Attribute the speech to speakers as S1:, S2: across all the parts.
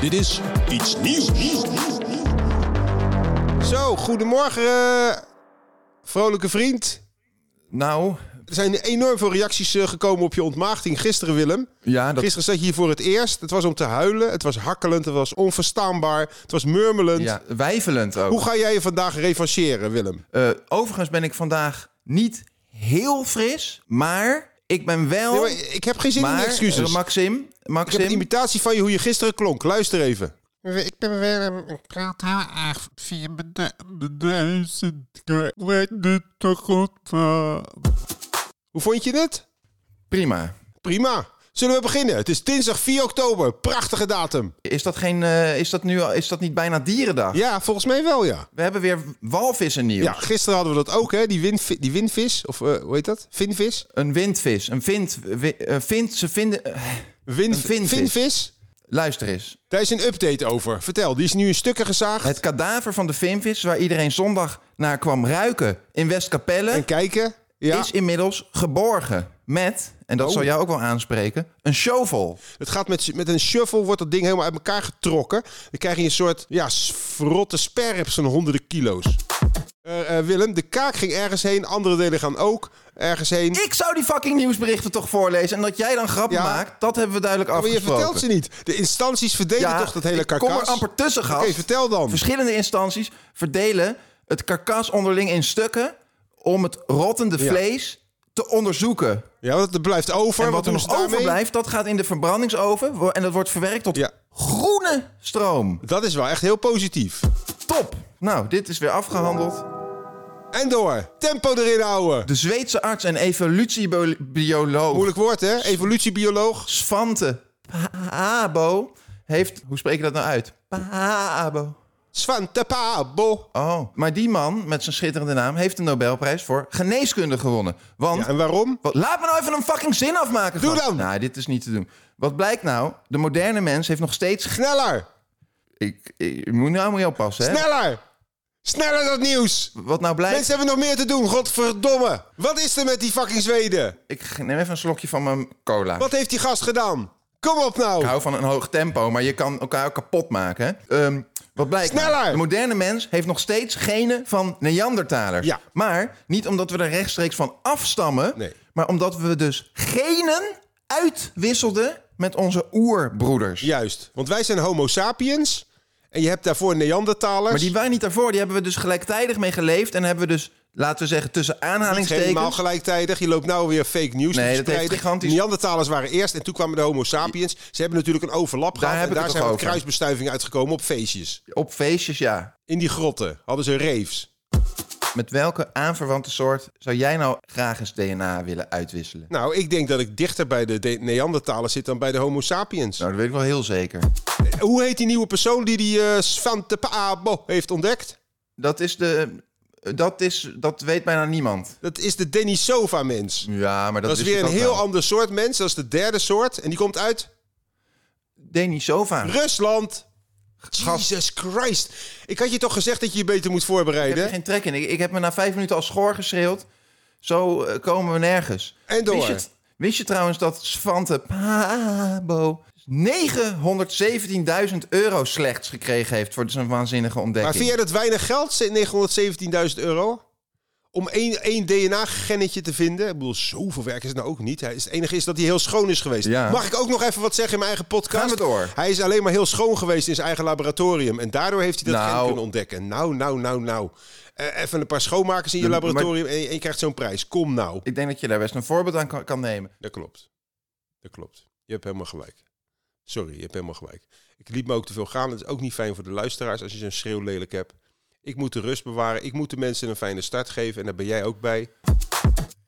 S1: Dit is iets nieuws.
S2: Zo, goedemorgen, eh, vrolijke vriend.
S1: Nou,
S2: Er zijn enorm veel reacties eh, gekomen op je ontmaagding gisteren, Willem.
S1: ja, dat,
S2: Gisteren zat je hier voor het eerst. Het was om te huilen, het was hakkelend, het was onverstaanbaar, het was murmelend.
S1: ja wijfelend ook.
S2: Hoe ga jij je vandaag revancheren, Willem?
S1: Eh, overigens ben ik vandaag niet heel fris, maar ik ben wel...
S2: Nee, maar ik heb geen zin in
S1: Oh, maar,
S2: excuses.
S1: eh, Maxim,
S2: ik heb een
S1: Maxim,
S2: imitatie van je hoe je gisteren klonk. Luister even.
S3: Ik ben Willem, ik praat heel erg via mijn du- mijn duizend. Ik weet niet zo goed van.
S2: Hoe vond je het?
S1: prima.
S2: Prima. Zullen we beginnen? Het is dinsdag 4 oktober. Prachtige datum.
S1: Is dat, geen, eh, is dat, nu, al- is dat niet bijna dierendag?
S2: Ja, volgens mij wel, ja.
S1: We hebben weer walvissen nieuws.
S2: Ja, gisteren hadden we dat ook, hè? Die, windvi- die windvis, of eh, hoe heet dat? Vinvis?
S1: Een windvis, een vind, wi- eh, vind ze vinden... eh,
S2: Wind,
S1: Een vinvis.
S2: Vinvis?
S1: luister eens.
S2: Daar is een update over. Vertel, die is nu in stukken gezaagd.
S1: Het kadaver van de vinvis, waar iedereen zondag naar kwam ruiken in Westkapelle...
S2: En kijken. Ja, Oh.
S1: is inmiddels geborgen met, en dat zal jou ook wel aanspreken, een shovel.
S2: het gaat met, met een shuffle, wordt dat ding helemaal uit elkaar getrokken. Dan krijg je een soort ja, s- verrotte sperps van honderden kilo's. Eh, eh, Willem, de kaak ging ergens heen. Andere delen gaan ook ergens heen.
S1: Ik zou die fucking nieuwsberichten toch voorlezen. En dat jij dan grappen
S2: Ja.
S1: maakt, dat hebben we duidelijk
S2: maar je
S1: afgesproken.
S2: vertelt ze niet. De instanties verdelen toch dat hele
S1: ik
S2: karkas?
S1: kom er amper tussen, gast.
S2: Oké, vertel dan.
S1: Verschillende instanties verdelen het karkas onderling in stukken... om het rottende
S2: Ja.
S1: vlees te onderzoeken.
S2: Ja, want het blijft over.
S1: en wat er
S2: doen
S1: nog
S2: ze daarmee?
S1: overblijft, dat gaat in de verbrandingsoven... wo- en dat wordt verwerkt tot
S2: Ja.
S1: groene stroom.
S2: Dat is wel echt heel positief.
S1: Top! Nou, dit is weer afgehandeld.
S2: En door. Tempo erin houden.
S1: De Zweedse arts en evolutiebioloog
S2: Moeilijk woord, hè? Evolutiebioloog.
S1: Svante Paabo heeft... Hoe spreek je dat nou uit? Paabo.
S2: Svante Pabo.
S1: Oh, maar die man met zijn schitterende naam heeft de Nobelprijs voor geneeskunde gewonnen. Want,
S2: Ja, en waarom?
S1: wat, laat me nou even een fucking zin afmaken.
S2: Doe
S1: gast.
S2: dan.
S1: Nou, dit is niet te doen. Wat blijkt nou? De moderne mens heeft nog steeds... ge-
S2: Sneller.
S1: Ik, ik, moet nou moet je oppassen, hè?
S2: Sneller. Sneller dat nieuws.
S1: Wat nou blijkt...
S2: Mensen hebben nog meer te doen, godverdomme. Wat is er met die fucking Zweden?
S1: Ik neem even een slokje van mijn cola.
S2: Wat heeft die gast gedaan? Kom op
S1: Ik
S2: nou.
S1: hou van een hoog tempo, maar je kan elkaar ook kapot maken. hè? Ehm, wat blijkt? nou?
S2: Sneller!
S1: De moderne mens heeft nog steeds genen van Neandertalers.
S2: Ja.
S1: Maar niet omdat we er rechtstreeks van afstammen,
S2: Nee.
S1: maar omdat we dus genen uitwisselden met onze oerbroeders.
S2: Juist, want wij zijn homo sapiens. En je hebt daarvoor Neandertalers.
S1: Maar die waren niet daarvoor, die hebben we dus gelijktijdig mee geleefd en hebben we dus, laten we zeggen, tussen
S2: niet helemaal
S1: aanhalingstekens.
S2: gelijktijdig. Je loopt nou weer fake nieuws
S1: Nee,
S2: te
S1: dat heeft
S2: verspreiden.
S1: gigantisch-
S2: De Neandertalers waren eerst en toen kwamen de homo sapiens. Ze hebben natuurlijk een overlap gehad.
S1: heb
S2: en
S1: ik
S2: daar
S1: het
S2: zijn
S1: toch
S2: wat
S1: over.
S2: kruisbestuivingen uitgekomen op feestjes.
S1: Op feestjes, ja.
S2: In die grotten hadden ze reefs.
S1: Met welke aanverwante soort zou jij nou graag eens DNA willen uitwisselen?
S2: Nou, ik denk dat ik dichter bij de, de Neandertalers zit dan bij de homo sapiens.
S1: Nou, dat weet ik wel heel zeker.
S2: Hoe heet die nieuwe persoon die die eh Svante Paabo heeft ontdekt?
S1: Dat is de. Dat, is, dat weet bijna niemand.
S2: Dat is de Denisova-mens. Dat,
S1: Ja, maar dat,
S2: is
S1: wist
S2: weer
S1: ik
S2: een
S1: ook
S2: heel
S1: wel.
S2: ander soort mens. Dat is de derde soort. En die komt uit
S1: Denisova.
S2: Rusland. Jesus Christ. Ik had je toch gezegd dat je je beter moet
S1: Ik heb
S2: voorbereiden?
S1: er geen trek in. Ik, ik heb me na vijf minuten al schoor geschreeuwd. Zo eh, komen we nergens.
S2: En door.
S1: Wist je, wist je trouwens dat Svante Pabo 917.000 euro slechts gekregen heeft voor zijn waanzinnige
S2: Maar
S1: ontdekking?
S2: vind jij dat weinig geld, 917.000 euro? om één, één DNA-gennetje te vinden. Ik bedoel, zoveel werk is het nou ook niet. Hij is, het enige is dat hij heel schoon is geweest.
S1: Ja.
S2: Mag ik ook nog even wat zeggen in mijn eigen podcast?
S1: Ga maar door.
S2: Hij is alleen maar heel schoon geweest in zijn eigen laboratorium. En daardoor heeft hij dat
S1: Nou.
S2: gen kunnen ontdekken. Nou, nou, nou, nou. Eh, even een paar schoonmakers in je
S1: Maar-
S2: laboratorium en, je- en je krijgt zo'n prijs. Kom nou.
S1: Ik denk dat je daar best een voorbeeld aan kan, kan nemen.
S2: Dat klopt. Dat klopt. Je hebt helemaal gelijk. Sorry, je hebt helemaal gelijk. Ik liet me ook te veel gaan. Het is ook niet fijn voor de luisteraars als je zo'n schreeuw lelijk hebt. Ik moet de rust bewaren. Ik moet de mensen een fijne start geven. En daar ben jij ook bij.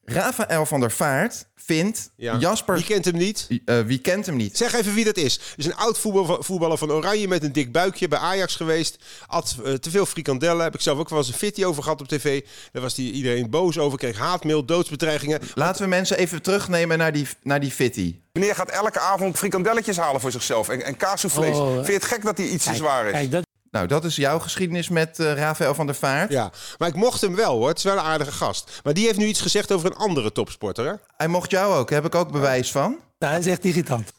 S1: Rafael van der Vaart vindt
S2: Ja.
S1: Jasper...
S2: Je kent hem niet.
S1: Eh, wie kent hem niet?
S2: Zeg even wie dat is. Is een oud voetbal- voetballer van Oranje met een dik buikje bij Ajax geweest. At eh, te veel frikandellen. Heb ik zelf ook wel eens een fitty over gehad op tv. Daar was die iedereen boos over. Kreeg haatmail, doodsbedreigingen.
S1: Laten we mensen even terugnemen naar die, naar die fitty.
S4: Meneer gaat elke avond frikandelletjes halen voor zichzelf en, en kaassoufflés.
S5: Oh, eh.
S4: Vind je het gek dat hij iets te zwaar is?
S5: Kijk, dat
S1: Nou, dat is jouw geschiedenis met eh Rafael van der Vaart.
S2: Ja, maar ik mocht hem wel hoor. Het is wel een aardige gast. Maar die heeft nu iets gezegd over een andere topsporter hè?
S1: Hij mocht jou ook, daar heb ik ook bewijs van.
S5: nou, dat is echt irritant.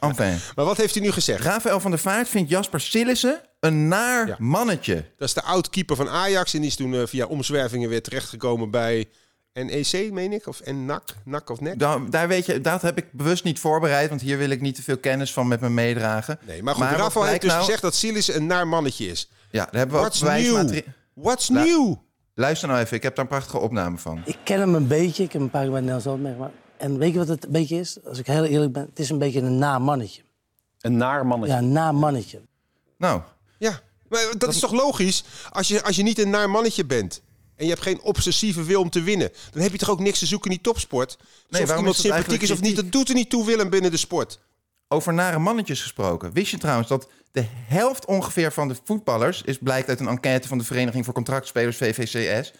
S1: Enfin.
S2: Maar wat heeft hij nu gezegd?
S1: Rafael van der Vaart vindt Jasper Sillissen een naar
S2: Ja.
S1: mannetje.
S2: Dat is de oud-keeper van Ajax. En die is toen eh, via omzwervingen weer terechtgekomen bij NEC, meen ik. Of NAC, NAC of E NEC.
S1: Daar, daar weet je, dat heb ik bewust niet voorbereid, want hier wil ik niet te veel kennis van met me meedragen.
S2: Nee, maar goed,
S1: wat
S2: Rafael heeft
S1: blijkt
S2: dus
S1: nou-
S2: gezegd dat Silis een naar mannetje is.
S1: Ja, daar hebben we ook
S2: What's new?
S1: bewijsmateri-
S2: What's
S1: La-
S2: new?
S1: Luister nou even, ik heb daar een prachtige opname van.
S5: Ik ken hem een beetje. Ik heb een paar keer bij Nels Holt meegemaakt. En weet je wat het een beetje is? Als ik heel eerlijk ben, het is een beetje een na mannetje.
S6: Een naar mannetje.
S5: Ja, een na mannetje.
S1: Nou,
S2: Ja, maar dat, is toch logisch? Als je, als je niet een naar mannetje bent en je hebt geen obsessieve wil om te winnen... dan heb je toch ook niks te zoeken in die topsport? Dus of
S1: waarom
S2: iemand
S1: is het
S2: sympathiek is of
S1: eigenlijk
S2: niet, dat doet er niet toe, Willem, binnen de sport.
S1: over nare mannetjes gesproken. Wist je trouwens dat de helft ongeveer van de voetballers... is blijkt uit een enquête van de Vereniging voor Contractspelers, VVCS...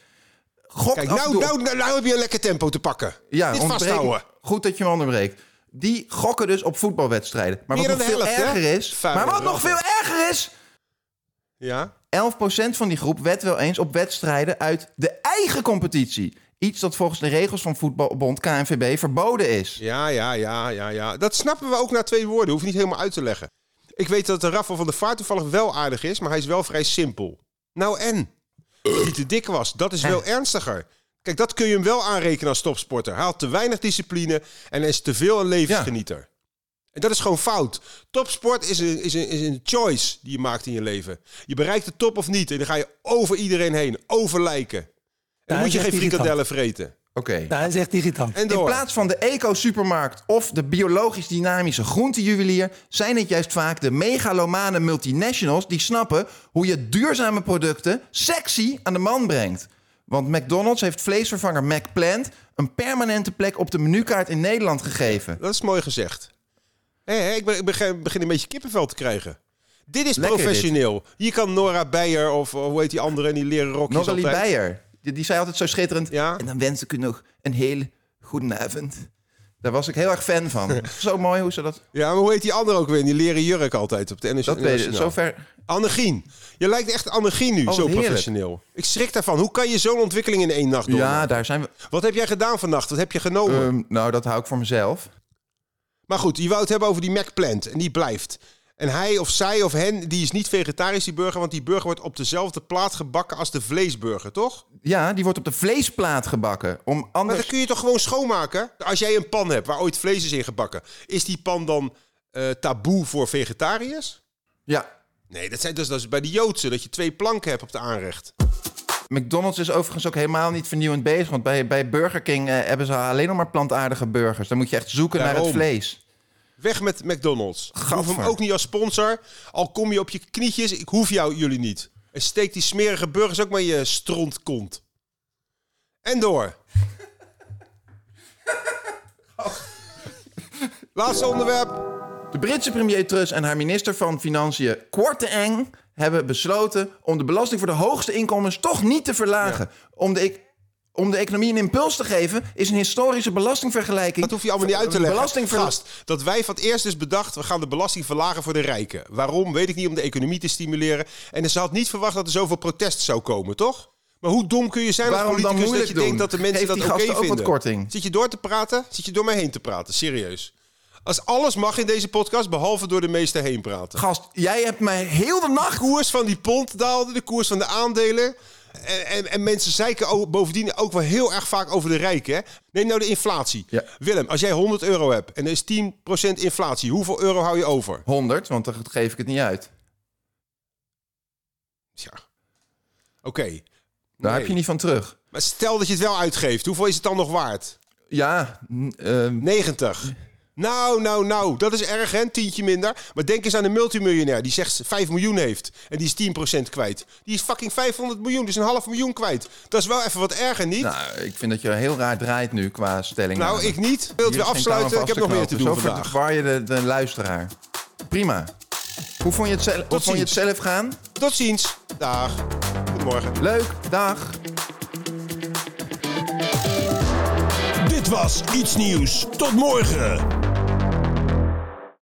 S1: Gokt
S2: Kijk,
S1: af en toe
S2: nou,
S1: op-
S2: nou, nou, nou heb je een lekker tempo te pakken.
S1: Ja,
S2: Dit
S1: ontbreken-
S2: vasthouden.
S1: Goed dat je me onderbreekt. Die gokken dus op voetbalwedstrijden. Maar
S2: Meer
S1: wat nog
S2: dan
S1: veel
S2: de helft, hè?
S1: erger is...
S2: Vuile
S1: maar wat nog
S2: ratten.
S1: veel erger is... 11%
S2: Ja?
S1: van die groep wet wel eens op wedstrijden uit de eigen competitie. Iets dat volgens de regels van voetbalbond KNVB verboden is.
S2: Ja, ja, ja, ja, ja. Dat snappen we ook na twee woorden. Hoef je niet helemaal uit te leggen. Ik weet dat de Raffel van de Vaart toevallig wel aardig is, maar hij is wel vrij simpel. Nou en? Dat hij te dik was, dat is
S5: Eh.
S2: wel ernstiger. Kijk, dat kun je hem wel aanrekenen als topsporter. Hij had te weinig discipline en hij is te veel een levensgenieter. En dat is gewoon fout. Topsport is een, is, een, is een choice die je maakt in je leven. Je bereikt de top of niet en dan ga je over iedereen heen, over lijken. En dan
S5: Ja,
S2: moet je
S5: dat
S2: geen
S5: is irritant.
S2: frikadellen vreten.
S1: Oké.
S5: Nou, dat is echt irritant.
S2: En
S1: In
S2: door.
S1: plaats van de eco-supermarkt of de biologisch dynamische groentejuwelier... zijn het juist vaak de megalomane multinationals die snappen... hoe je duurzame producten sexy aan de man brengt. Want McDonald's heeft vleesvervanger McPlant... een permanente plek op de menukaart in Nederland gegeven.
S2: Dat is mooi gezegd. Hé, hé, ik, ben, ik begin, begin een beetje kippenvel te krijgen. Dit is
S1: Lekker,
S2: professioneel. Hier kan Nora Beijer of of hoe heet die andere in die leren rokjes
S1: Natalie
S2: altijd.
S1: Beyer, die, die zei altijd zo schitterend...
S2: Ja.
S1: en dan wens ik u nog een heel goede avond. Daar was ik heel erg fan van. zo mooi hoe ze dat...
S2: Ja, maar hoe heet die andere ook weer in die leren jurk altijd op de NS?
S1: Dat weet ik, zover...
S2: Annegien. Je lijkt echt Annegien nu,
S1: wat
S2: zo
S1: heerlijk.
S2: professioneel. Ik schrik daarvan. Hoe kan je zo'n ontwikkeling in één nacht doen?
S1: Ja, daar zijn we...
S2: Wat heb jij gedaan vannacht? Wat heb je genomen?
S1: Ehm, nou, dat hou ik voor mezelf.
S2: Maar goed, je wou het hebben over die Mac Plant en die blijft. En hij of zij of hen, die is niet vegetarisch, die burger, want die burger wordt op dezelfde plaat gebakken als de vleesburger, toch?
S1: Ja, die wordt op de vleesplaat gebakken. Om
S2: Maar
S1: anders...
S2: dan kun je toch gewoon schoonmaken? Als jij een pan hebt waar ooit vlees is in gebakken, is die pan dan eh, taboe voor vegetariërs?
S1: Ja,
S2: Nee, dat, zijn, dus, dat is bij de Joodse, dat je twee planken hebt op de aanrecht.
S1: McDonald's is overigens ook helemaal niet vernieuwend bezig. Want bij, bij Burger King eh, hebben ze alleen nog maar plantaardige burgers. Dan moet je echt zoeken naar het
S2: Daarom.
S1: vlees.
S2: Weg met McDonald's. Ik hoef hem
S1: Gadver.
S2: ook niet als sponsor. Al kom je op je knietjes, ik hoef jou jullie niet. En steek die smerige burgers ook maar in je strontkont. En door. Laatste onderwerp.
S1: De Britse premier Truss en haar minister van Financiën Quarteng hebben besloten om de belasting voor de hoogste inkomens toch niet te verlagen. Om, de ec- om de economie een impuls te geven is een historische belastingvergelijking.
S2: Dat hoef je allemaal niet uit te leggen.
S1: Belastingverlast.
S2: Gast, Dat wij van het eerst dus bedacht, we gaan de belasting verlagen voor de rijken. Waarom? Weet ik niet, om de economie te stimuleren. En ze had niet verwacht dat er zoveel protest zou komen, toch? Maar hoe dom kun je zijn
S1: Waarom
S2: als
S1: dan
S2: politicus dat je
S1: moeilijk doen?
S2: denkt dat de mensen
S1: Geef
S2: dat
S1: die
S2: oké
S1: gasten ook wat
S2: vinden?
S1: korting.
S2: Zit je door te praten? Zit je door mij heen te praten? Serieus. Als alles mag in deze podcast, behalve door de meesten heen praten.
S1: Gast, jij hebt mij heel de nacht
S2: De koers van die pond daalde, de koers van de aandelen. En, en, en mensen zeiken ook- bovendien ook wel heel erg vaak over de rijken. Hè? Neem nou de inflatie.
S1: Ja.
S2: Willem, als jij 100 euro hebt en er is 10% inflatie, hoeveel euro hou je over?
S1: 100, want dan geef ik het niet uit.
S2: Ja. Oké.
S1: Daar
S2: Nee.
S1: heb je niet van terug.
S2: Maar stel dat je het wel uitgeeft, hoeveel is het dan nog waard?
S1: Ja, n- ehm,
S2: 90. Nou, nou, nou, dat is erg, hè? Een tientje minder. Maar denk eens aan een multimiljonair die zegt 5 miljoen heeft. En die is 10% kwijt. Die is fucking 500 miljoen, dus een half miljoen kwijt. Dat is wel even wat erger, niet? Nou,
S1: nou, ik vind dat je heel raar draait nu qua stelling.
S2: ik niet. Ik wil het weer afsluiten. Ik heb nog meer te doen
S1: Zo
S2: vandaag.
S1: verwar je de, de luisteraar. Prima. Hoe vond je het, zelf, hoe vond je het
S2: ziens.
S1: zelf gaan?
S2: Tot ziens. Dag. Goedemorgen.
S1: Leuk, dag.
S6: Dit was Iets Nieuws. Tot morgen.